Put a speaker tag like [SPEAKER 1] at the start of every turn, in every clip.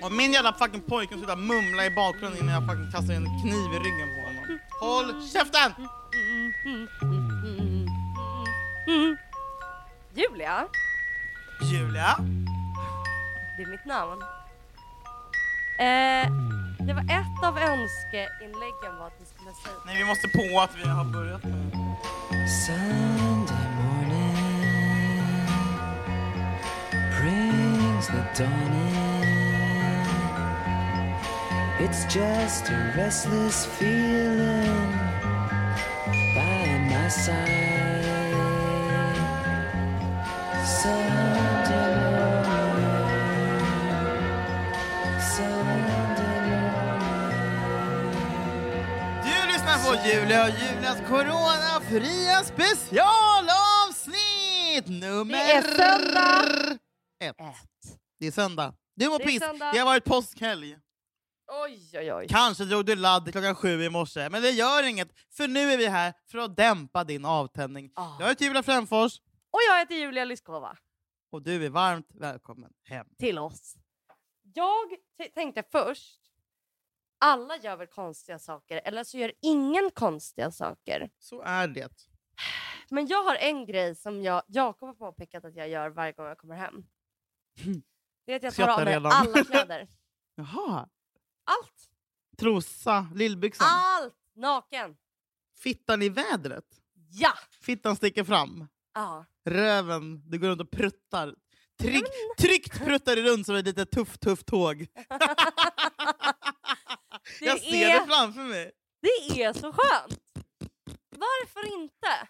[SPEAKER 1] Om min jävla fucking pojke slutar mumla i bakgrunden innan jag fucking kastar en kniv i ryggen på honom. Håll käften!
[SPEAKER 2] Mm. Julia,
[SPEAKER 1] Julia?
[SPEAKER 2] det är mitt namn. Eh, det var ett av önskeinläggen var att ni skulle säga
[SPEAKER 1] Nej, vi måste på att vi har börjat med...
[SPEAKER 3] Sunday morning brings the dawn in. It's just a restless feeling by my side. Sunday morning, Sunday morning.
[SPEAKER 1] Du lyssnar på Julia och Julias coronafria specialavsnitt nummer...
[SPEAKER 2] Det är söndag.
[SPEAKER 1] Ett.
[SPEAKER 2] ett.
[SPEAKER 1] Det är söndag. Du mår
[SPEAKER 2] Det är
[SPEAKER 1] piss.
[SPEAKER 2] söndag.
[SPEAKER 1] Det har varit påskhelg.
[SPEAKER 2] Oj, oj, oj.
[SPEAKER 1] Kanske drog du ladd klockan sju i morse, men det gör inget. För nu är vi här för att dämpa din avtändning.
[SPEAKER 2] Ah.
[SPEAKER 1] Jag heter Julia Fränfors.
[SPEAKER 2] Och jag heter Julia Lyskova.
[SPEAKER 1] Och du är varmt välkommen hem.
[SPEAKER 2] Till oss. Jag t- tänkte först, alla gör väl konstiga saker, eller så gör ingen konstiga saker.
[SPEAKER 1] Så är det.
[SPEAKER 2] Men jag har en grej som jag, jag kommer påpekat att jag gör varje gång jag kommer hem. Det är att jag tar av
[SPEAKER 1] Hm. Skrattar
[SPEAKER 2] mig
[SPEAKER 1] redan.
[SPEAKER 2] alla kläder.
[SPEAKER 1] Jaha.
[SPEAKER 2] Allt!
[SPEAKER 1] Trosa, lillbyxan,
[SPEAKER 2] Allt! Naken!
[SPEAKER 1] fittan i vädret.
[SPEAKER 2] Ja!
[SPEAKER 1] Fittan sticker fram.
[SPEAKER 2] ja.
[SPEAKER 1] Röven, du går runt och pruttar. Tryck,
[SPEAKER 2] Mm.
[SPEAKER 1] tryggt pruttar du runt som ett litet tufft, tufft tåg.
[SPEAKER 2] Det,
[SPEAKER 1] Jag ser det
[SPEAKER 2] är,
[SPEAKER 1] framför mig.
[SPEAKER 2] det är så skönt! Varför inte?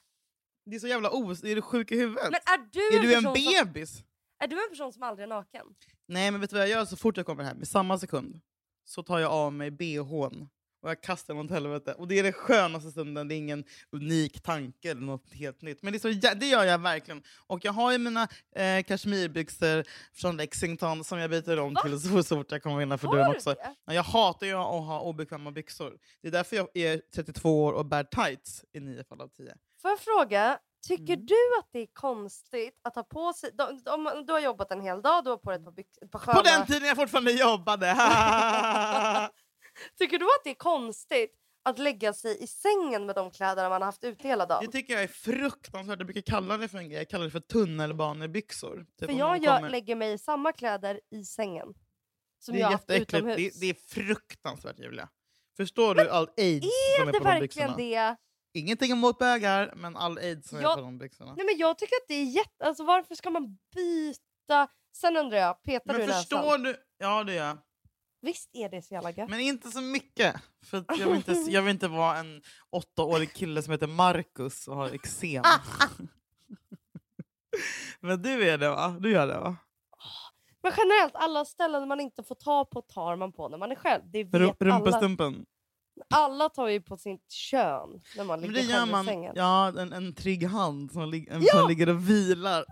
[SPEAKER 1] Det är så jävla os... Är du sjuk i huvudet?
[SPEAKER 2] Men är du,
[SPEAKER 1] är du en
[SPEAKER 2] person som,
[SPEAKER 1] bebis?
[SPEAKER 2] är du en person som aldrig är naken?
[SPEAKER 1] Nej, men vet du vad jag gör så fort jag kommer hem? I samma sekund så tar jag av mig bhn och jag kastar den åt helvete. Och det är den skönaste stunden. Det är ingen unik tanke eller något helt nytt. Men det, är så, jä- det gör jag verkligen. Och jag har ju mina eh, kashmirbyxor från Lexington som jag byter om
[SPEAKER 2] Va?
[SPEAKER 1] till så så fort jag kommer innanför
[SPEAKER 2] Har
[SPEAKER 1] dörren
[SPEAKER 2] du
[SPEAKER 1] också.
[SPEAKER 2] det?
[SPEAKER 1] Ja, Jag hatar ju att ha obekväma byxor. Det är därför jag är 32 år och bär tights i 9 fall av 10.
[SPEAKER 2] Får jag fråga, tycker
[SPEAKER 1] Mm.
[SPEAKER 2] du att det är konstigt att ha på sig... Om, om du har jobbat en hel dag, du har på dig ett par, byx, ett par sköna...
[SPEAKER 1] På den tiden jag fortfarande jobbade!
[SPEAKER 2] Tycker du att det är konstigt att lägga sig i sängen med de kläderna man har haft ute hela
[SPEAKER 1] Det
[SPEAKER 2] dagen?
[SPEAKER 1] tycker jag är fruktansvärt. Jag brukar kalla det för en grej. Jag kallar det för tunnelbanebyxor. Typ
[SPEAKER 2] För
[SPEAKER 1] om
[SPEAKER 2] jag
[SPEAKER 1] någon
[SPEAKER 2] gör,
[SPEAKER 1] kommer-
[SPEAKER 2] lägger mig i samma kläder i sängen som
[SPEAKER 1] det är
[SPEAKER 2] jag har haft
[SPEAKER 1] jätteäckligt.
[SPEAKER 2] utomhus.
[SPEAKER 1] Det, det är fruktansvärt, Julia. Förstår du all aids som
[SPEAKER 2] är
[SPEAKER 1] är
[SPEAKER 2] det
[SPEAKER 1] på de
[SPEAKER 2] verkligen
[SPEAKER 1] byxorna?
[SPEAKER 2] det?
[SPEAKER 1] Ingenting emot bögar, men all aids som är
[SPEAKER 2] Jag-
[SPEAKER 1] på de byxorna.
[SPEAKER 2] Nej, men jag tycker att det är jätte... Alltså, varför ska man byta? Sen undrar jag, petar du i
[SPEAKER 1] Men
[SPEAKER 2] näsan?
[SPEAKER 1] förstår du? Ja, det gör jag.
[SPEAKER 2] Visst är det så jävla gött?
[SPEAKER 1] Men inte så mycket. För att jag, vill inte, jag vill inte vara en åttaårig kille som heter Marcus och har eksem. men du är det, va? Du gör det, va?
[SPEAKER 2] Men generellt, alla ställen man inte får ta på tar man på när man är själv. Det
[SPEAKER 1] Ru-
[SPEAKER 2] vet alla.
[SPEAKER 1] Rumpastumpen.
[SPEAKER 2] Alla tar ju på sitt kön när man
[SPEAKER 1] Men
[SPEAKER 2] ligger
[SPEAKER 1] det gör
[SPEAKER 2] själv i
[SPEAKER 1] man.
[SPEAKER 2] sängen.
[SPEAKER 1] Ja, en, en trygg hand som, lig- en,
[SPEAKER 2] Ja!
[SPEAKER 1] som ligger och vilar.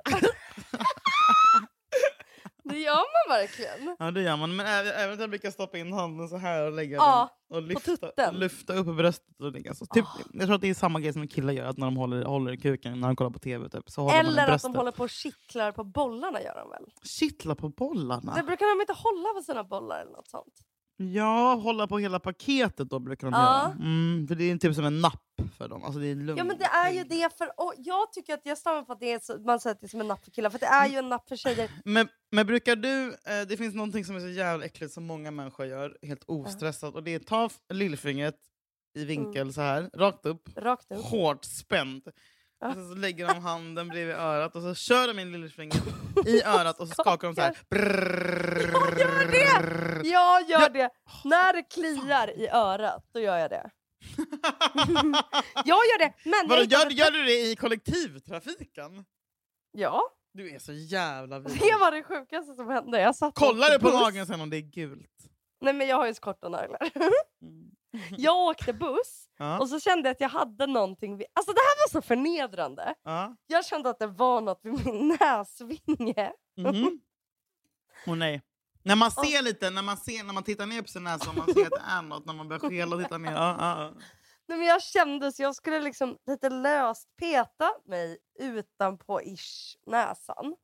[SPEAKER 2] Det gör man verkligen.
[SPEAKER 1] Ja, det gör man. Men även, även att jag brukar stoppa in handen så här och lägga
[SPEAKER 2] Ja,
[SPEAKER 1] den och lyfta,
[SPEAKER 2] tutten.
[SPEAKER 1] lyfta upp bröstet. Och ligga så. Typ,
[SPEAKER 2] Ah.
[SPEAKER 1] Jag tror att det är samma grej som killar gör att när de håller, håller i kuken när de kollar på tv. Typ, så håller man i
[SPEAKER 2] Eller att
[SPEAKER 1] bröstet.
[SPEAKER 2] de håller på och kittlar på bollarna gör de väl?
[SPEAKER 1] Kittla på bollarna.
[SPEAKER 2] Det brukar de inte hålla på sina bollar eller något sånt?
[SPEAKER 1] Ja, hålla på hela paketet då brukar de
[SPEAKER 2] Ja.
[SPEAKER 1] göra. Mm, för det är typ som en napp för dem. Alltså, det är lugn.
[SPEAKER 2] Ja men det är ju det för... Och jag tycker att jag stannar på att det är så, man säger att det är som en napp för killar för det är ju en napp för tjejer.
[SPEAKER 1] Men, men brukar du, eh, det finns någonting som är så jävla äckligt som många människor gör, helt ostressat. Och det är ta f- lillfingret i vinkel så här, rakt upp,
[SPEAKER 2] Rakt Mm. upp.
[SPEAKER 1] hårt spänt. Och sen så lägger de handen bredvid örat och så kör de in lillfingret i örat och så skakar de så här.
[SPEAKER 2] Jag gör det! När det kliar i örat, då gör jag det. Jag gör det! Men
[SPEAKER 1] Vadå, gör,
[SPEAKER 2] jag
[SPEAKER 1] gör du det i kollektivtrafiken?
[SPEAKER 2] Ja,
[SPEAKER 1] Du är så jävla vidrig.
[SPEAKER 2] det var det sjukaste som hände. Jag satt
[SPEAKER 1] Kollar du på
[SPEAKER 2] buss.
[SPEAKER 1] magen sen om det är gult? Mm.
[SPEAKER 2] Nej men jag har ju så korta naglar. Jag åkte buss
[SPEAKER 1] Ja.
[SPEAKER 2] och så kände jag att jag hade någonting. Vid... Alltså det här var så förnedrande.
[SPEAKER 1] Ja.
[SPEAKER 2] Jag kände att det var något vid min näsvinge.
[SPEAKER 1] Mhm. Åh, nej. När man ser lite, när man, ser, när man tittar ner på sin näsa och man ser att det är något, när man börjar skela och titta ner. Ja, ja, ja.
[SPEAKER 2] Nej, men jag kände så jag skulle liksom lite löst peta mig utanpå ish näsan.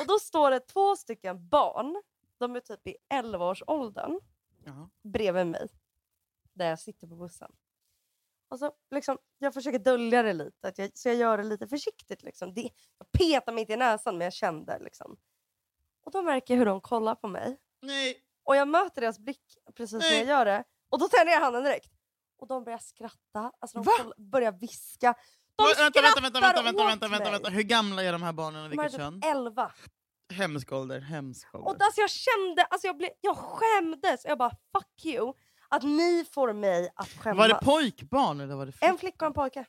[SPEAKER 2] Och då står det två stycken barn. De är typ i 11-årsåldern
[SPEAKER 1] Ja.
[SPEAKER 2] bredvid mig där jag sitter på bussen. Och så liksom, jag försöker dölja det lite, att jag, så jag gör det lite försiktigt. Liksom. Det, jag petar mig inte i näsan, men jag kände. Liksom. Och då märker jag hur de kollar på mig.
[SPEAKER 1] Nej.
[SPEAKER 2] Och jag möter deras blick precis när jag
[SPEAKER 1] Nej.
[SPEAKER 2] gör det. Och då tänder jag handen direkt. Och de börjar skratta. Alltså de
[SPEAKER 1] Va?
[SPEAKER 2] koll- börjar viska. De
[SPEAKER 1] Va- vänta, vänta, vänta, vänta,
[SPEAKER 2] skrattar
[SPEAKER 1] vänta,
[SPEAKER 2] åt
[SPEAKER 1] vänta, vänta,
[SPEAKER 2] mig.
[SPEAKER 1] vänta. Hur gamla är de här barnen och
[SPEAKER 2] De är
[SPEAKER 1] vilket
[SPEAKER 2] typ
[SPEAKER 1] kön?
[SPEAKER 2] 11.
[SPEAKER 1] Hemsk ålder. Hemsk ålder.
[SPEAKER 2] Och alltså jag kände, alltså jag, blev, jag skämdes. Jag bara fuck you. Att ni får mig att skämmas.
[SPEAKER 1] Var det pojkbarn eller var det
[SPEAKER 2] En flicka och en pojke.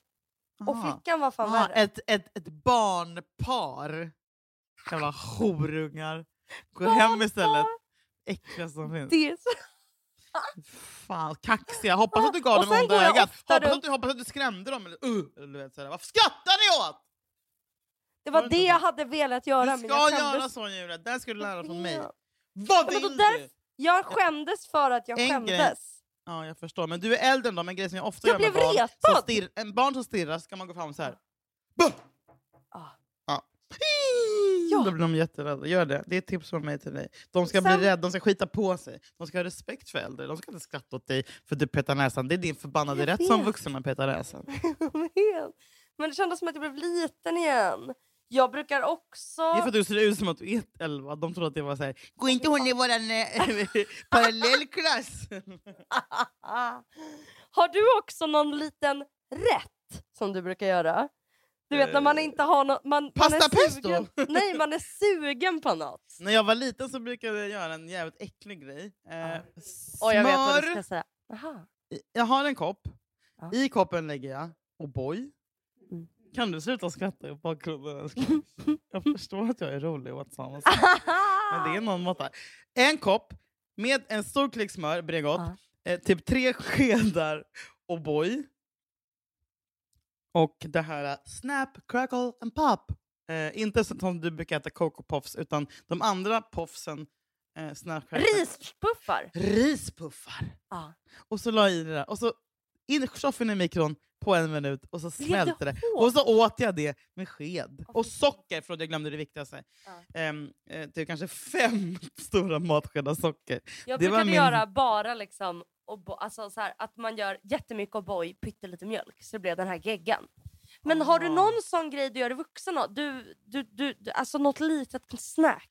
[SPEAKER 2] Och
[SPEAKER 1] Aha.
[SPEAKER 2] flickan var fan
[SPEAKER 1] Ah,
[SPEAKER 2] värre.
[SPEAKER 1] ett, ett, ett barnpar. Jävla horungar. Gå hem
[SPEAKER 2] Barnpar.
[SPEAKER 1] istället. Äckliga som finns.
[SPEAKER 2] Det är så-
[SPEAKER 1] Fan, kaxiga. Hoppas att du gav
[SPEAKER 2] Och
[SPEAKER 1] dem
[SPEAKER 2] sen går
[SPEAKER 1] onda
[SPEAKER 2] jag
[SPEAKER 1] ögat.
[SPEAKER 2] ofta
[SPEAKER 1] Hoppas,
[SPEAKER 2] runt-
[SPEAKER 1] att du- hoppas att du skrämde dem. Eller, uh, eller du vet, sådär. Varför skrattar ni åt?
[SPEAKER 2] Det
[SPEAKER 1] Var
[SPEAKER 2] var
[SPEAKER 1] det
[SPEAKER 2] det
[SPEAKER 1] inte
[SPEAKER 2] jag
[SPEAKER 1] så?
[SPEAKER 2] hade velat göra.
[SPEAKER 1] Du
[SPEAKER 2] men
[SPEAKER 1] ska
[SPEAKER 2] jag
[SPEAKER 1] göra
[SPEAKER 2] skämdes.
[SPEAKER 1] så Julia. Det här ska du lära dig från mig.
[SPEAKER 2] Ja.
[SPEAKER 1] Vad
[SPEAKER 2] men då
[SPEAKER 1] vill
[SPEAKER 2] därför-
[SPEAKER 1] du?
[SPEAKER 2] Jag skämdes för att jag
[SPEAKER 1] En grej-
[SPEAKER 2] skämdes.
[SPEAKER 1] Ja, jag förstår. Men du är äldre än dem. En grej som jag ofta
[SPEAKER 2] Jag
[SPEAKER 1] gör med
[SPEAKER 2] blev
[SPEAKER 1] barn.
[SPEAKER 2] retad.
[SPEAKER 1] Som stirr, en barn som stirrar ska man gå fram så här. Bah!
[SPEAKER 2] Ah.
[SPEAKER 1] Ja.
[SPEAKER 2] Ja.
[SPEAKER 1] Då blir de jätterädda. Gör det. Det är ett tips från mig till dig. De ska
[SPEAKER 2] Sen-
[SPEAKER 1] bli rädda, de ska skita på sig. De ska ha respekt för äldre. De ska inte skratta åt dig för du petar näsan. Det är din förbannade
[SPEAKER 2] Jag
[SPEAKER 1] rätt som
[SPEAKER 2] vet.
[SPEAKER 1] vuxen att peta näsan.
[SPEAKER 2] Helt. Men det kändes som att jag blev liten igen. Jag brukar också...
[SPEAKER 1] Det är för att du ser ut som att du är 11. De trodde att det var så här. Gå inte hon i våran eh, parallellklass?
[SPEAKER 2] Ah. Har du också någon liten rätt som du brukar göra? Du vet när man
[SPEAKER 1] Eh,
[SPEAKER 2] inte har något... Man, man
[SPEAKER 1] pasta
[SPEAKER 2] är sugen,
[SPEAKER 1] pesto?
[SPEAKER 2] Nej, man är sugen på något.
[SPEAKER 1] När jag var liten så brukade jag göra en jävligt äcklig grej. Eh, smör.
[SPEAKER 2] Och jag vet vad du ska säga. Aha.
[SPEAKER 1] I- Jag har en kopp.
[SPEAKER 2] Ja.
[SPEAKER 1] I koppen lägger jag O'boy.
[SPEAKER 2] Mm.
[SPEAKER 1] Kan du sluta skratta i bakgrunden? älskling? jag förstår att jag är rolig och åtsam. och så, Men
[SPEAKER 2] Ah.
[SPEAKER 1] det är någon måtta. En kopp med en stor klick smör, Bregott. Eh, typ tre skedar O'boy. Och det här eh, Snap, Crackle and Pop. Eh, inte så- som du brukar äta Coco Puffs, utan de andra poffsen. Eh, snap, crackle,
[SPEAKER 2] Rispuffar.
[SPEAKER 1] Rispuffar.
[SPEAKER 2] Ja.
[SPEAKER 1] Och så la jag i det där. Och så in choffen i mikron på en minut och så smälte det.
[SPEAKER 2] hårt.
[SPEAKER 1] Och så åt jag det med sked. Och socker, för att jag glömde det viktigaste.
[SPEAKER 2] Ja.
[SPEAKER 1] Um, typ kanske fem stora matskedar socker.
[SPEAKER 2] Jag
[SPEAKER 1] Det var
[SPEAKER 2] brukade
[SPEAKER 1] min-
[SPEAKER 2] göra bara liksom O'boy, alltså så här, att man gör jättemycket O'boy, pyttelite mjölk, så det blev den här geggan. Men har du
[SPEAKER 1] Ah.
[SPEAKER 2] någon sån grej du gör i vuxen ålder? du, du, du, du, Alltså något litet snack?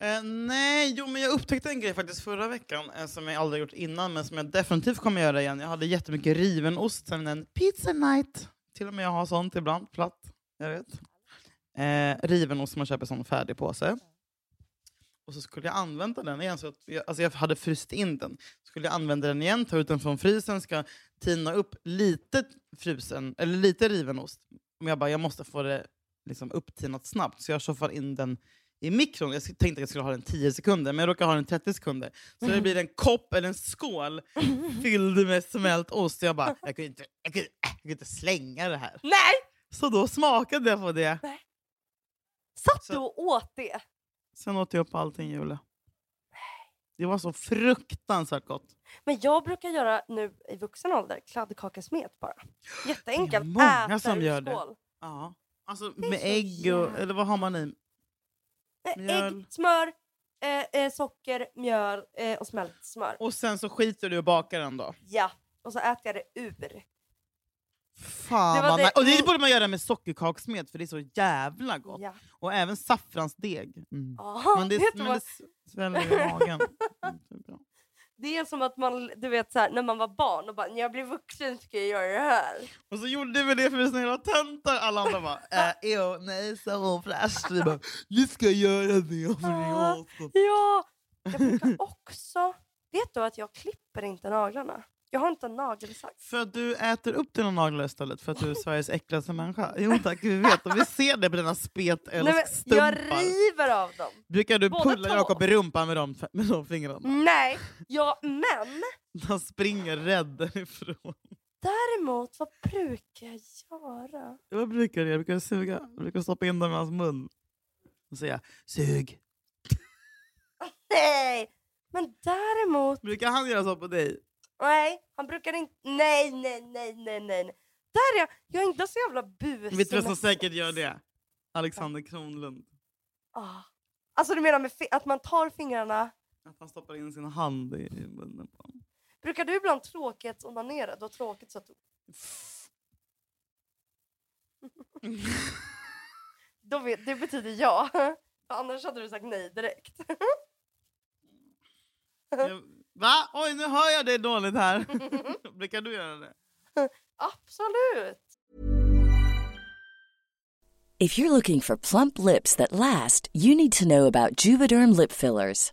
[SPEAKER 1] Eh, nej, jo, men jag upptäckte en grej faktiskt förra veckan eh, som jag aldrig gjort innan men som jag definitivt kommer göra igen. Jag hade jättemycket riven ost sen en pizza night. Till och med jag har sånt ibland, platt. Jag vet. Eh, riven ost som man köper som färdig påse. Och så skulle jag använda den igen, så att jag, alltså jag hade fryst in den. Skulle jag använda den igen, ta ut den från frysen, ska tina upp lite frusen, eller lite riven ost. Men jag bara, jag måste få det liksom upptinat snabbt, så jag tjoffar in den i mikron. Jag tänkte att jag skulle ha den 10 sekunder, men jag råkar ha den 30 sekunder. Så det blir en kopp eller en skål fylld med smält ost. Jag bara, jag kan ju inte, jag kan, ju- äh, jag kan ju inte slänga det här.
[SPEAKER 2] Nej!
[SPEAKER 1] Så då smakade jag på det.
[SPEAKER 2] Satt
[SPEAKER 1] Så-
[SPEAKER 2] du och åt det?
[SPEAKER 1] Sen åt jag upp allting, Julia. Det var så fruktansvärt gott.
[SPEAKER 2] Men jag brukar göra nu i vuxen ålder kladdkakasmet bara. Jätteenkelt.
[SPEAKER 1] Det är många
[SPEAKER 2] Äta
[SPEAKER 1] som
[SPEAKER 2] ur
[SPEAKER 1] gör det.
[SPEAKER 2] skål.
[SPEAKER 1] Ja. Alltså
[SPEAKER 2] är
[SPEAKER 1] med
[SPEAKER 2] så
[SPEAKER 1] ägg och...
[SPEAKER 2] jävla-
[SPEAKER 1] Eller vad har man i?
[SPEAKER 2] Eh,
[SPEAKER 1] Mjöl.
[SPEAKER 2] Ägg, smör, eh, eh, socker, mjöl eh, och smält smör.
[SPEAKER 1] Och sen så skiter du och bakar den då.
[SPEAKER 2] Ja, och så äter jag det ur.
[SPEAKER 1] Fan
[SPEAKER 2] Det var
[SPEAKER 1] vad
[SPEAKER 2] det-
[SPEAKER 1] nice. Och
[SPEAKER 2] min-
[SPEAKER 1] det borde man göra med sockerkaksmet för det är så jävla gott.
[SPEAKER 2] Ja.
[SPEAKER 1] Och även saffransdeg. Mm.
[SPEAKER 2] Ah,
[SPEAKER 1] Men det,
[SPEAKER 2] vet du
[SPEAKER 1] men
[SPEAKER 2] vad?
[SPEAKER 1] det sväller i magen. Mm, det är bra.
[SPEAKER 2] Det är som att man, du vet så här, när man var barn och bara när jag blir vuxen ska jag göra det här.
[SPEAKER 1] Och så gjorde vi det för vi var snälla töntar. Alla andra bara äh, ew, nej, så ofräscht. Vi bara, vi ska göra det för det är asgott.
[SPEAKER 2] Ja! Jag brukar också... vet du att jag klipper inte naglarna? Jag har inte en nagelsax.
[SPEAKER 1] För att du äter upp dina naglar istället för att du är Sveriges äckligaste människa. Jo tack, vi vet. Och vi ser det på dina
[SPEAKER 2] Nej, men jag
[SPEAKER 1] spetälskstumpar.
[SPEAKER 2] river av dem.
[SPEAKER 1] Brukar du
[SPEAKER 2] båda
[SPEAKER 1] pulla
[SPEAKER 2] två.
[SPEAKER 1] Jakob i rumpan med de, med de fingrarna?
[SPEAKER 2] Nej, ja, men
[SPEAKER 1] Han springer rädd därifrån.
[SPEAKER 2] däremot vad brukar jag göra?
[SPEAKER 1] Vad brukar du göra? Brukar du suga? Brukar du stoppa in dem i hans mun? Och säga sug.
[SPEAKER 2] Nej! Men däremot...
[SPEAKER 1] Brukar han göra så på dig?
[SPEAKER 2] Nej, han brukar inte... Nej, nej, nej, nej, nej. nej. Där är jag. Jag är inte så jävla busig.
[SPEAKER 1] Vet du vem
[SPEAKER 2] med
[SPEAKER 1] som säkert gör
[SPEAKER 2] sex.
[SPEAKER 1] det? Alexander Kronlund.
[SPEAKER 2] Ah. Alltså du menar med fi- att man tar fingrarna
[SPEAKER 1] Att han stoppar in sin hand i i munnen på honom.
[SPEAKER 2] Brukar du ibland tråkighetsonanera? Du har tråkigt så att du... Då vet, det betyder ja. För Annars hade du sagt nej direkt.
[SPEAKER 1] Jag, va? Oj, nu hör jag dig dåligt här. Brukar du göra det?
[SPEAKER 2] Absolut!
[SPEAKER 4] If you're looking for plump lips that last, you need to know about Juvederm lip fillers.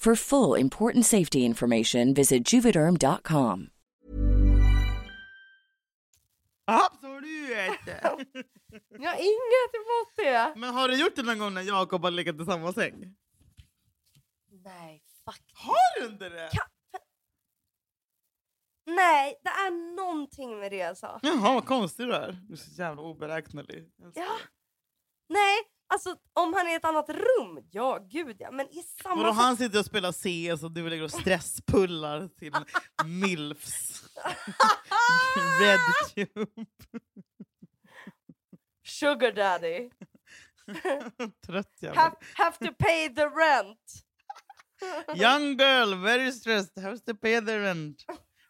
[SPEAKER 4] For full important safety information, visit juvederm.com.
[SPEAKER 1] Absolut!
[SPEAKER 2] Jag har inget emot det.
[SPEAKER 1] Men har du gjort det någon gång när Jakob har legat i samma säng?
[SPEAKER 2] Nej, fuck.
[SPEAKER 1] Har du inte det?
[SPEAKER 2] Nej, det är någonting med det alltså.
[SPEAKER 1] Jaha, vad konstig du är. Du är så jävla oberäknelig.
[SPEAKER 2] Ja. Nej, alltså om han är i ett annat rum, ja gud ja. Men alltså- i samma...
[SPEAKER 1] Vadå, han sitter och spelar CS och du ligger och stresspullar till milfs redtube.
[SPEAKER 2] Sugar daddy.
[SPEAKER 1] Trött jävel.
[SPEAKER 2] Have, have to pay the rent.
[SPEAKER 1] Young girl, very stressed, has to pay the rent.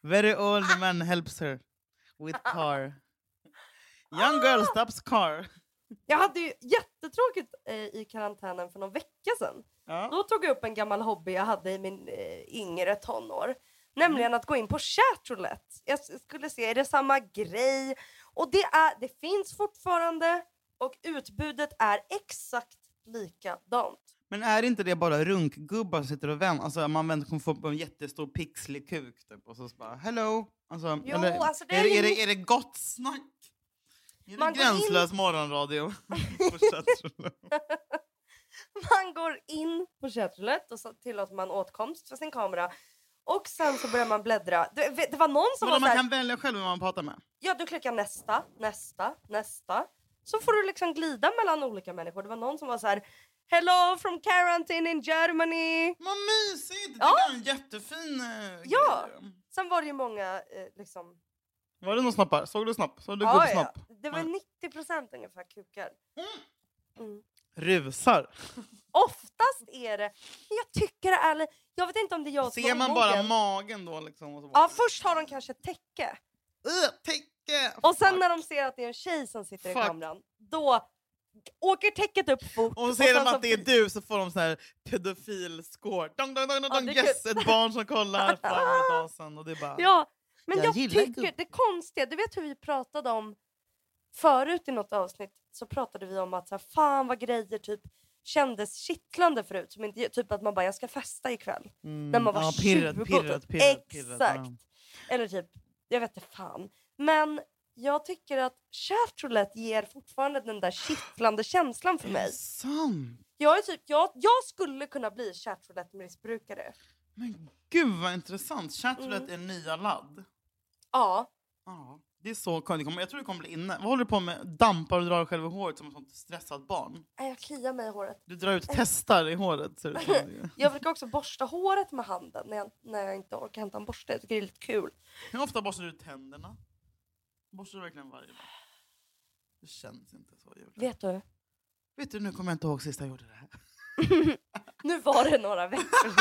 [SPEAKER 1] Very old man helps her with car. Young girl stops car.
[SPEAKER 2] Jag hade ju jättetråkigt eh, i karantänen för någon vecka sedan.
[SPEAKER 1] Ja.
[SPEAKER 2] Då tog jag upp en gammal hobby jag hade i min eh, yngre tonår.
[SPEAKER 1] Mm.
[SPEAKER 2] Nämligen att gå in på chatroulette. Jag s- skulle se, är det samma grej? Och det, är, det finns fortfarande och utbudet är exakt likadant.
[SPEAKER 1] Men är inte det bara runkgubbar som sitter och vänder? Alltså, man vänder, kommer få en jättestor pixlig kuk typ, och så bara hello. Alltså,
[SPEAKER 2] Jo, alltså, det
[SPEAKER 1] är,
[SPEAKER 2] är
[SPEAKER 1] det,
[SPEAKER 2] ju
[SPEAKER 1] är, det,
[SPEAKER 2] mitt-
[SPEAKER 1] är det gott snack? Är
[SPEAKER 2] Man
[SPEAKER 1] det
[SPEAKER 2] går in-
[SPEAKER 1] gränslös morgonradio? På chatroulette.
[SPEAKER 2] Man går in på chatroulette och så tillåter man åtkomst för sin kamera. Och sen så börjar man bläddra. Det, det var någon
[SPEAKER 1] Men
[SPEAKER 2] som
[SPEAKER 1] om man
[SPEAKER 2] var såhär,
[SPEAKER 1] kan välja själv vem man pratar med?
[SPEAKER 2] ja du klickar nästa, nästa, nästa. Så får du liksom glida mellan olika människor. Det var någon som var så här: Hello from quarantine in Germany.
[SPEAKER 1] Vad mysigt!
[SPEAKER 2] Ja.
[SPEAKER 1] Det är en jättefin eh,
[SPEAKER 2] Ja.
[SPEAKER 1] grej.
[SPEAKER 2] Sen var det ju många eh, liksom...
[SPEAKER 1] Var det någon snappar? Såg du snapp? Såg du
[SPEAKER 2] Ja, ja.
[SPEAKER 1] gubbsnapp?
[SPEAKER 2] Det var
[SPEAKER 1] Ja.
[SPEAKER 2] 90 procent ungefär kukar.
[SPEAKER 1] Rusar.
[SPEAKER 2] Oftast är det... Men Jag tycker det är... li- Jag vet inte om det är jag som
[SPEAKER 1] Ser
[SPEAKER 2] har
[SPEAKER 1] man bara
[SPEAKER 2] mogen.
[SPEAKER 1] magen då? Liksom, och så bara,
[SPEAKER 2] Ja, först har de kanske ett täcke.
[SPEAKER 1] "Ugh, täcke!
[SPEAKER 2] Och sen
[SPEAKER 1] Fuck.
[SPEAKER 2] när de ser att det är en tjej som sitter
[SPEAKER 1] Fuck.
[SPEAKER 2] i kameran, då åker täcket upp fort.
[SPEAKER 1] Och ser
[SPEAKER 2] sen
[SPEAKER 1] de
[SPEAKER 2] så-
[SPEAKER 1] att det är du så får de så här pedofilscore. Dong, dong, dong, dong,
[SPEAKER 2] Ja,
[SPEAKER 1] dong.
[SPEAKER 2] det är
[SPEAKER 1] yes, ett barn som kollar. Fan vad dasen. Och det är bara...
[SPEAKER 2] Ja, men
[SPEAKER 1] Jag
[SPEAKER 2] jag,
[SPEAKER 1] gillar
[SPEAKER 2] tycker
[SPEAKER 1] gubb-
[SPEAKER 2] det konstiga, du vet hur vi pratade om förut i något avsnitt så pratade vi om att så här, fan vad grejer typ kändes kittlande förut. Som inte, typ att man bara jag ska festa ikväll.
[SPEAKER 1] Mm,
[SPEAKER 2] när man var
[SPEAKER 1] ja,
[SPEAKER 2] 20.
[SPEAKER 1] pirret,
[SPEAKER 2] typ.
[SPEAKER 1] pirret, pirret, pirret,
[SPEAKER 2] Exakt.
[SPEAKER 1] ja.
[SPEAKER 2] Eller typ, jag vet inte fan. Men jag tycker att chatroulette ger fortfarande den där kittlande känslan för mig.
[SPEAKER 1] Sant.
[SPEAKER 2] Jag, är typ, jag, jag skulle kunna bli chatroulette-missbrukare.
[SPEAKER 1] Men gud vad intressant.
[SPEAKER 2] Mm.
[SPEAKER 1] Chatroulette är nya ladd.
[SPEAKER 2] Ja.
[SPEAKER 1] Ja, det är så konstigt. Jag tror det kommer bli inne. Vad håller du på med? Dampar och drar själv i håret som ett sånt stressat barn.
[SPEAKER 2] Nej, Jag kliar mig i håret.
[SPEAKER 1] Du drar ut testar i håret. Ser det ut som.
[SPEAKER 2] Jag brukar också borsta håret med handen när jag, när jag inte orkar hämta en borste. Jag tycker det är lite kul.
[SPEAKER 1] Hur ofta borstar du tänderna? Borstar du verkligen varje dag? Det känns inte så. Julia.
[SPEAKER 2] Vet du?
[SPEAKER 1] Vet du, nu kommer jag inte ihåg sist jag gjorde det här.
[SPEAKER 2] Nu var det några veckor.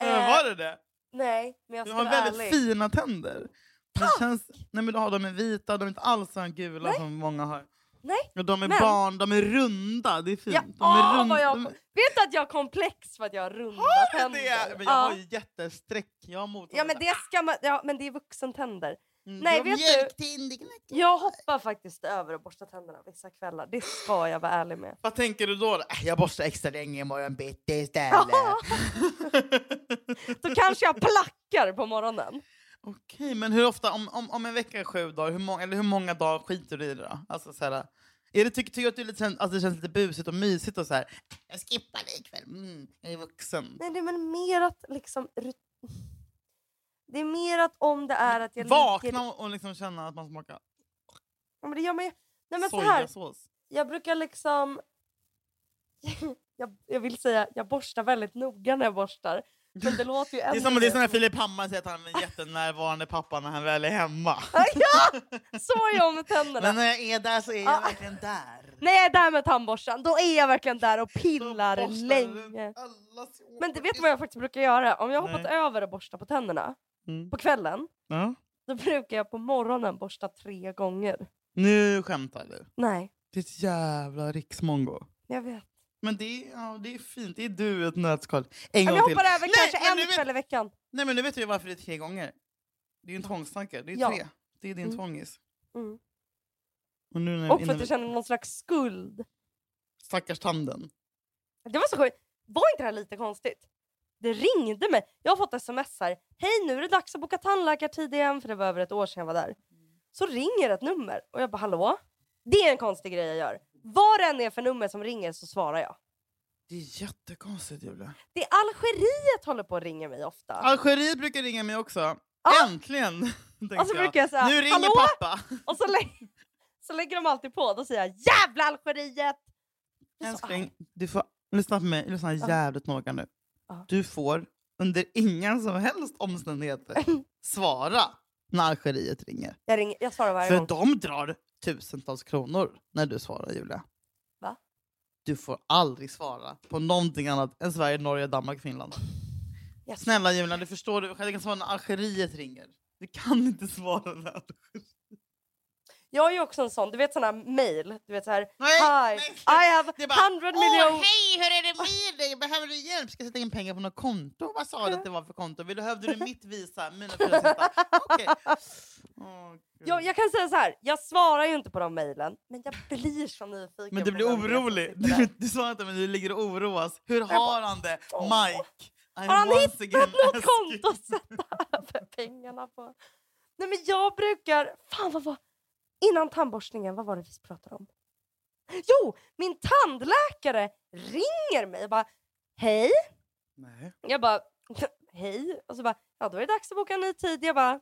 [SPEAKER 1] Äh, var det det?
[SPEAKER 2] Nej, men Eh, jag
[SPEAKER 1] Du
[SPEAKER 2] ska
[SPEAKER 1] har
[SPEAKER 2] vara
[SPEAKER 1] väldigt
[SPEAKER 2] ärlig.
[SPEAKER 1] fina tänder. Det känns, nej men du har de är vita, de är inte alls så här gula som många har.
[SPEAKER 2] Nej.
[SPEAKER 1] Och de är
[SPEAKER 2] Men-
[SPEAKER 1] barn, de är runda. Det är fint.
[SPEAKER 2] Ja,
[SPEAKER 1] de är
[SPEAKER 2] åh,
[SPEAKER 1] runda.
[SPEAKER 2] vad jag,
[SPEAKER 1] de-
[SPEAKER 2] vet du att jag har komplex för att jag har runda
[SPEAKER 1] Men
[SPEAKER 2] tänder?
[SPEAKER 1] det är, men jag
[SPEAKER 2] Ja.
[SPEAKER 1] har ju jättestreck. Jag har motor-
[SPEAKER 2] Ja men det ska man, ja men det är vuxentänder.
[SPEAKER 1] Mm,
[SPEAKER 2] nej,
[SPEAKER 1] jag har
[SPEAKER 2] vet du-
[SPEAKER 1] mjölktänder.
[SPEAKER 2] Jag hoppar faktiskt över att borsta tänderna vissa kvällar, det ska jag vara ärlig med.
[SPEAKER 1] Vad tänker du då? Äh, Jag borstar extra länge imorgon bitti istället.
[SPEAKER 2] Ja. Då kanske jag plackar på morgonen.
[SPEAKER 1] Okej, men hur ofta, om, om, om en vecka är sju dagar, hur många, eller hur många dagar skiter du i det då? Alltså, så här, är det, tycker, tycker du att det, är lite, sen- alltså, det känns lite busigt och mysigt och så här, jag skippar det ikväll, mm, jag är vuxen.
[SPEAKER 2] Nej det är väl mer att liksom... rut- Det är mer att om det är att jag ligger...
[SPEAKER 1] Vakna och, och liksom känna att man smakar
[SPEAKER 2] Ja, men det gör man ju... Nej men så här,
[SPEAKER 1] sojasås.
[SPEAKER 2] jag brukar liksom... jag, jag vill säga, jag borstar väldigt noga när jag borstar. Men det låter ju
[SPEAKER 1] Det är
[SPEAKER 2] ändå
[SPEAKER 1] som, det är
[SPEAKER 2] mer-
[SPEAKER 1] som när Filip Hammar säger att han är en jättenärvarande pappa när han väl är hemma.
[SPEAKER 2] Så är jag med tänderna.
[SPEAKER 1] Men när jag är där så är jag
[SPEAKER 2] Ah.
[SPEAKER 1] verkligen där.
[SPEAKER 2] När jag är där med tandborsten, då är jag verkligen där och
[SPEAKER 1] Då
[SPEAKER 2] pillar
[SPEAKER 1] borstar du
[SPEAKER 2] länge.
[SPEAKER 1] allas hår.
[SPEAKER 2] Men du vet vad jag faktiskt brukar göra? Om jag har hoppat
[SPEAKER 1] Nej.
[SPEAKER 2] över att borsta på tänderna
[SPEAKER 1] Mm.
[SPEAKER 2] på kvällen,
[SPEAKER 1] Ja.
[SPEAKER 2] då brukar jag på morgonen borsta tre gånger.
[SPEAKER 1] Nu skämtar du.
[SPEAKER 2] Nej,
[SPEAKER 1] Det är ett jävla riksmongo.
[SPEAKER 2] jag vet.
[SPEAKER 1] Men det är, ja, det är fint. Det är du i ett nötskal. En
[SPEAKER 2] Om
[SPEAKER 1] gång
[SPEAKER 2] jag
[SPEAKER 1] till.
[SPEAKER 2] hoppar över
[SPEAKER 1] Nej,
[SPEAKER 2] kanske
[SPEAKER 1] men
[SPEAKER 2] en
[SPEAKER 1] du vet-
[SPEAKER 2] kväll i veckan.
[SPEAKER 1] Nej, men nu vet du ju varför det är tre gånger. Det är ju en tvångstanke. Det är
[SPEAKER 2] Ja.
[SPEAKER 1] tre. Det är din
[SPEAKER 2] Mm.
[SPEAKER 1] tvångis.
[SPEAKER 2] Mm.
[SPEAKER 1] Och nu när,
[SPEAKER 2] Och för
[SPEAKER 1] innan
[SPEAKER 2] att
[SPEAKER 1] vi...
[SPEAKER 2] jag känner någon slags skuld.
[SPEAKER 1] Stackars tanden.
[SPEAKER 2] Det var så sjukt. Var inte det här lite konstigt? Det ringde mig. Jag har fått sms här. Hej, nu är det dags att boka tandläkartid igen. För det var över ett år sedan jag var där. Så ringer ett nummer. Och jag bara, hallå? Det är en konstig grej jag gör. Vad det än är för nummer som ringer så svarar jag.
[SPEAKER 1] Det är jättekonstigt, Julia.
[SPEAKER 2] Det är Algeriet håller på att ringa mig ofta.
[SPEAKER 1] Algeriet brukar ringa mig också.
[SPEAKER 2] Ja.
[SPEAKER 1] Äntligen! tänkte
[SPEAKER 2] Och så brukar jag säga,
[SPEAKER 1] nu ringer
[SPEAKER 2] "Hallå?"
[SPEAKER 1] pappa.
[SPEAKER 2] Och så, lä- så lägger de alltid på. Då säger jag jävla Algeriet! Det är så Ah,
[SPEAKER 1] Älskling,
[SPEAKER 2] arg.
[SPEAKER 1] du får lyssna på mig. Lyssna
[SPEAKER 2] Ja.
[SPEAKER 1] jävligt noga nu.
[SPEAKER 2] Ja.
[SPEAKER 1] Du får under inga som helst omständigheter svara när Algeriet ringer.
[SPEAKER 2] Jag, ringer, jag svarar varje
[SPEAKER 1] För
[SPEAKER 2] gång.
[SPEAKER 1] de drar tusentals kronor när du svarar, Julia.
[SPEAKER 2] Va?
[SPEAKER 1] Du får aldrig svara på någonting annat än Sverige, Norge, Danmark, Finland.
[SPEAKER 2] Yes.
[SPEAKER 1] Snälla Julia, du förstår. Du själv kan svara när Algeriet ringer. Du kan inte svara när Algeriet...
[SPEAKER 2] Jag är ju också en sån, du vet såna här mail. Du vet så här,
[SPEAKER 1] Nej,
[SPEAKER 2] hi,
[SPEAKER 1] nej,
[SPEAKER 2] I have
[SPEAKER 1] Det är
[SPEAKER 2] 100 miljoner.
[SPEAKER 1] hej, hur är det med dig? Behöver du hjälp? Ska jag sätta in pengar på något konto? Vad sa du att det var för konto? Vill- Behövde du mitt Visa? Mina fyra centa? Okej. Åh, Gud.
[SPEAKER 2] Jag, jag kan säga så här, jag svarar ju inte på de mejlen, men jag blir så nyfiken.
[SPEAKER 1] Men du
[SPEAKER 2] på
[SPEAKER 1] blir
[SPEAKER 2] vem det är som
[SPEAKER 1] orolig.
[SPEAKER 2] sitter där.
[SPEAKER 1] Du, du sa inte, men du ligger och oroas. Hur
[SPEAKER 2] bara,
[SPEAKER 1] har han det?
[SPEAKER 2] åh.
[SPEAKER 1] Mike? I
[SPEAKER 2] Har han
[SPEAKER 1] once
[SPEAKER 2] hittat
[SPEAKER 1] again
[SPEAKER 2] något
[SPEAKER 1] ask
[SPEAKER 2] konto
[SPEAKER 1] you.
[SPEAKER 2] att sätta över pengarna på? Nej men jag brukar... Fan vad var... Innan tandborstningen, vad var det vi pratade om? Jo, min tandläkare ringer mig och bara Hej!
[SPEAKER 1] Nej.
[SPEAKER 2] Jag bara Hej! Och så bara Ja, då är det dags att boka en ny tid. Jag bara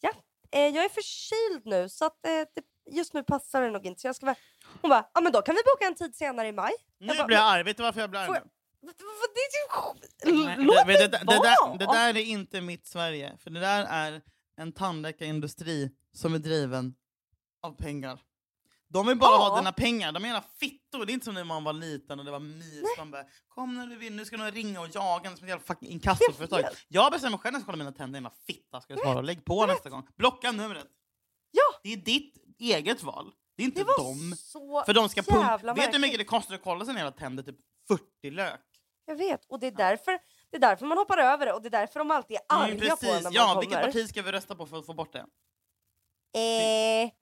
[SPEAKER 2] Ja, eh, jag är förkyld nu så att eh, det, just nu passar det nog inte. Så jag ska vara... Hon bara Ja, men då kan vi boka en tid senare i maj.
[SPEAKER 1] Nu
[SPEAKER 2] bara,
[SPEAKER 1] blir jag arg. Vet du varför jag blir arg?
[SPEAKER 2] Får
[SPEAKER 1] nu?
[SPEAKER 2] Vad- vad- Det är
[SPEAKER 1] Nej,
[SPEAKER 2] ju... Låt
[SPEAKER 1] vet du,
[SPEAKER 2] mig
[SPEAKER 1] det, det,
[SPEAKER 2] vara!
[SPEAKER 1] där, det där är inte mitt Sverige. För Det där är en tandläkarindustri som är driven av pengar. De vill bara
[SPEAKER 2] Ja.
[SPEAKER 1] ha dina pengar. De är jävla fittor. Det är inte som när man var liten och det var mys. De bara, Kom när du vill, nu ska någon ringa och jaga en som ett jävla fucking inkassoföretag.
[SPEAKER 2] Jag vet.
[SPEAKER 1] Jag bestämmer själv när jag ska kolla mina tänder. Jävla fitta ska du svara. Lägg på nästa gång. Blocka numret.
[SPEAKER 2] Ja.
[SPEAKER 1] Det är ditt eget val. Det är inte
[SPEAKER 2] Det var
[SPEAKER 1] dem.
[SPEAKER 2] så
[SPEAKER 1] För de ska
[SPEAKER 2] jävla
[SPEAKER 1] pumpa. Vet du hur mycket
[SPEAKER 2] märkligt.
[SPEAKER 1] det kostar att kolla sina jävla tänder? Typ 40 lök.
[SPEAKER 2] Jag vet, och det är, därför, det är därför man hoppar över det och det är därför de alltid är
[SPEAKER 1] Mm,
[SPEAKER 2] arga på en när man
[SPEAKER 1] ja, vilket
[SPEAKER 2] kommer.
[SPEAKER 1] parti ska vi rösta på för att få bort det?
[SPEAKER 2] Eh,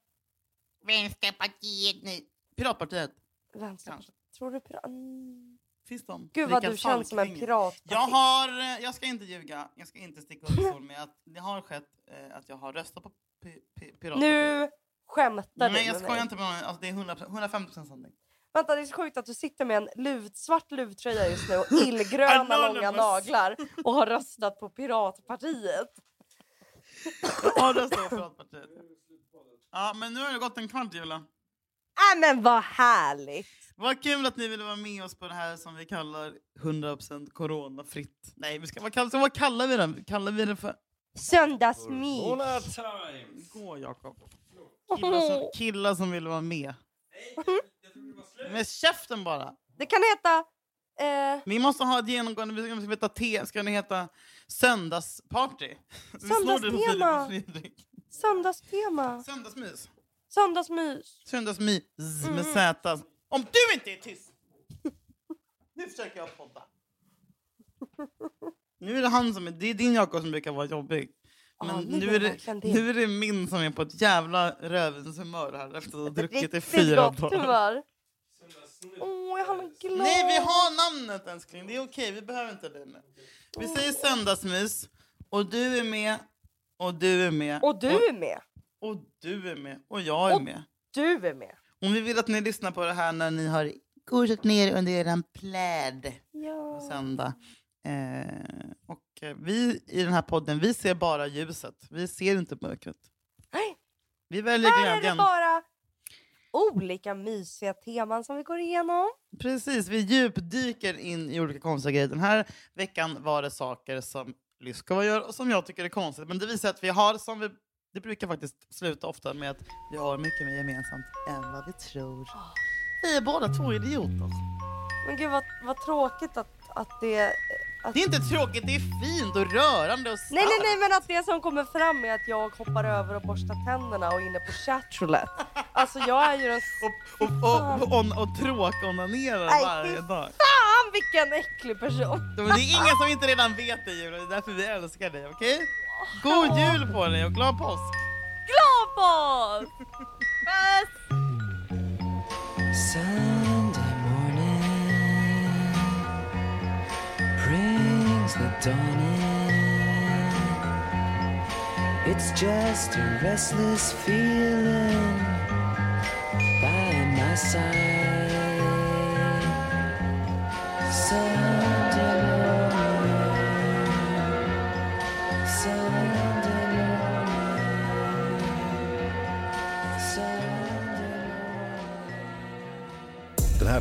[SPEAKER 1] Vänsterpartiet nu. Piratpartiet.
[SPEAKER 2] vänster.
[SPEAKER 1] Kanske.
[SPEAKER 2] Tror du pirat... Mm.
[SPEAKER 1] Finns de?
[SPEAKER 2] Gud vad
[SPEAKER 1] Rickard
[SPEAKER 2] du känns som en
[SPEAKER 1] Falkring.
[SPEAKER 2] pirat.
[SPEAKER 1] Jag har, eh, jag ska inte ljuga, jag ska inte sticka under stol med att det har skett eh, att jag har röstat på pi, pi, Piratpartiet.
[SPEAKER 2] Nu skämtar
[SPEAKER 1] Nej,
[SPEAKER 2] du
[SPEAKER 1] jag
[SPEAKER 2] med
[SPEAKER 1] skojar
[SPEAKER 2] mig.
[SPEAKER 1] inte med någon. Alltså, det är 100%, 150 sanning.
[SPEAKER 2] Vänta, det är så sjukt att du sitter med en lut, svart luvtröja just nu och illgröna långa
[SPEAKER 1] Anonymous.
[SPEAKER 2] naglar och har röstat på Piratpartiet.
[SPEAKER 1] Jag har röstat på Piratpartiet. Ja, men nu har det gått en kvart, Julia.
[SPEAKER 2] Äh, men vad härligt!
[SPEAKER 1] Vad kul att ni ville vara med oss på det här som vi kallar 100% coronafritt. Nej, vi ska, vad, kallar, vad kallar vi det? Kallar vi det för...
[SPEAKER 2] Söndagsmys!
[SPEAKER 3] Corona time!
[SPEAKER 1] Gå, Jakob. Killar som, killar som vill vara med. Med käften bara!
[SPEAKER 2] Det kan heta... Eh,
[SPEAKER 1] Vi måste ha ett genomgående... Vi ska- vi ska heta te, ska det heta söndagsparty? Vi snor det från Filip och
[SPEAKER 2] Söndagstema.
[SPEAKER 1] Fredrik.
[SPEAKER 2] söndagstema.
[SPEAKER 1] Söndagsmys.
[SPEAKER 2] Söndagsmys.
[SPEAKER 1] Söndagsmys med
[SPEAKER 2] Mm.
[SPEAKER 1] Z. Om du inte är tyst! nu försöker jag podda. Nu är det han som är, det är din Jakob som brukar vara jobbig. Men
[SPEAKER 2] Ja, nu
[SPEAKER 1] nu,
[SPEAKER 2] är
[SPEAKER 1] är det,
[SPEAKER 2] verkligen det.
[SPEAKER 1] nu är det min som är på ett jävla rövens humör här efter att ha druckit i
[SPEAKER 2] Riktigt
[SPEAKER 1] fyra
[SPEAKER 2] gott
[SPEAKER 1] dagar.
[SPEAKER 2] humör. Åh, jag är han glad.
[SPEAKER 1] Nej, vi har namnet älskling. Det är okej, vi behöver inte dig nu. Vi
[SPEAKER 2] Mm.
[SPEAKER 1] säger söndagsmys och du är med och du är med
[SPEAKER 2] Och du är med.
[SPEAKER 1] och, och du är med och jag är
[SPEAKER 2] Och-
[SPEAKER 1] med.
[SPEAKER 2] Du är med.
[SPEAKER 1] Om vi vill att ni lyssnar på det här när ni har kursat ner under eran pläd på
[SPEAKER 2] Ja.
[SPEAKER 1] söndag. Eh, och eh, vi i den här podden, vi ser bara ljuset. Vi ser inte mörkret.
[SPEAKER 2] Nej,
[SPEAKER 1] Vi väljer
[SPEAKER 2] här är det
[SPEAKER 1] glädjen.
[SPEAKER 2] bara olika mysiga teman som vi går igenom.
[SPEAKER 1] Precis, vi djupdyker in i olika konstiga grejer. Den här veckan var det saker som Lyskova gör och som jag tycker är konstigt. Men det visar att vi har, som vi, det brukar faktiskt sluta ofta med att vi har mycket mer gemensamt än vad vi tror. Vi är båda två idioter.
[SPEAKER 2] Men gud vad, vad tråkigt att, att det... Att...
[SPEAKER 1] Det är inte tråkigt, det är fint och rörande och starkt.
[SPEAKER 2] Nej, nej, nej, men att det som kommer fram är att jag hoppar över och borstar tänderna och är inne på chatroulette. Alltså jag är ju den...
[SPEAKER 1] Och, och, och, och, och, och tråkonanerar
[SPEAKER 2] Nej,
[SPEAKER 1] varje
[SPEAKER 2] fy
[SPEAKER 1] dag.
[SPEAKER 2] Fan vilken äcklig person!
[SPEAKER 1] Men det är ingen som inte redan vet det Julia, det är därför vi älskar dig, okej? God jul på dig och glad påsk!
[SPEAKER 2] Glad påsk! Puss!
[SPEAKER 3] Sunday morning brings the dawn in. It's just a restless feeling by my side. Sunday morning, Sunday morning, Sunday morning.
[SPEAKER 5] Den här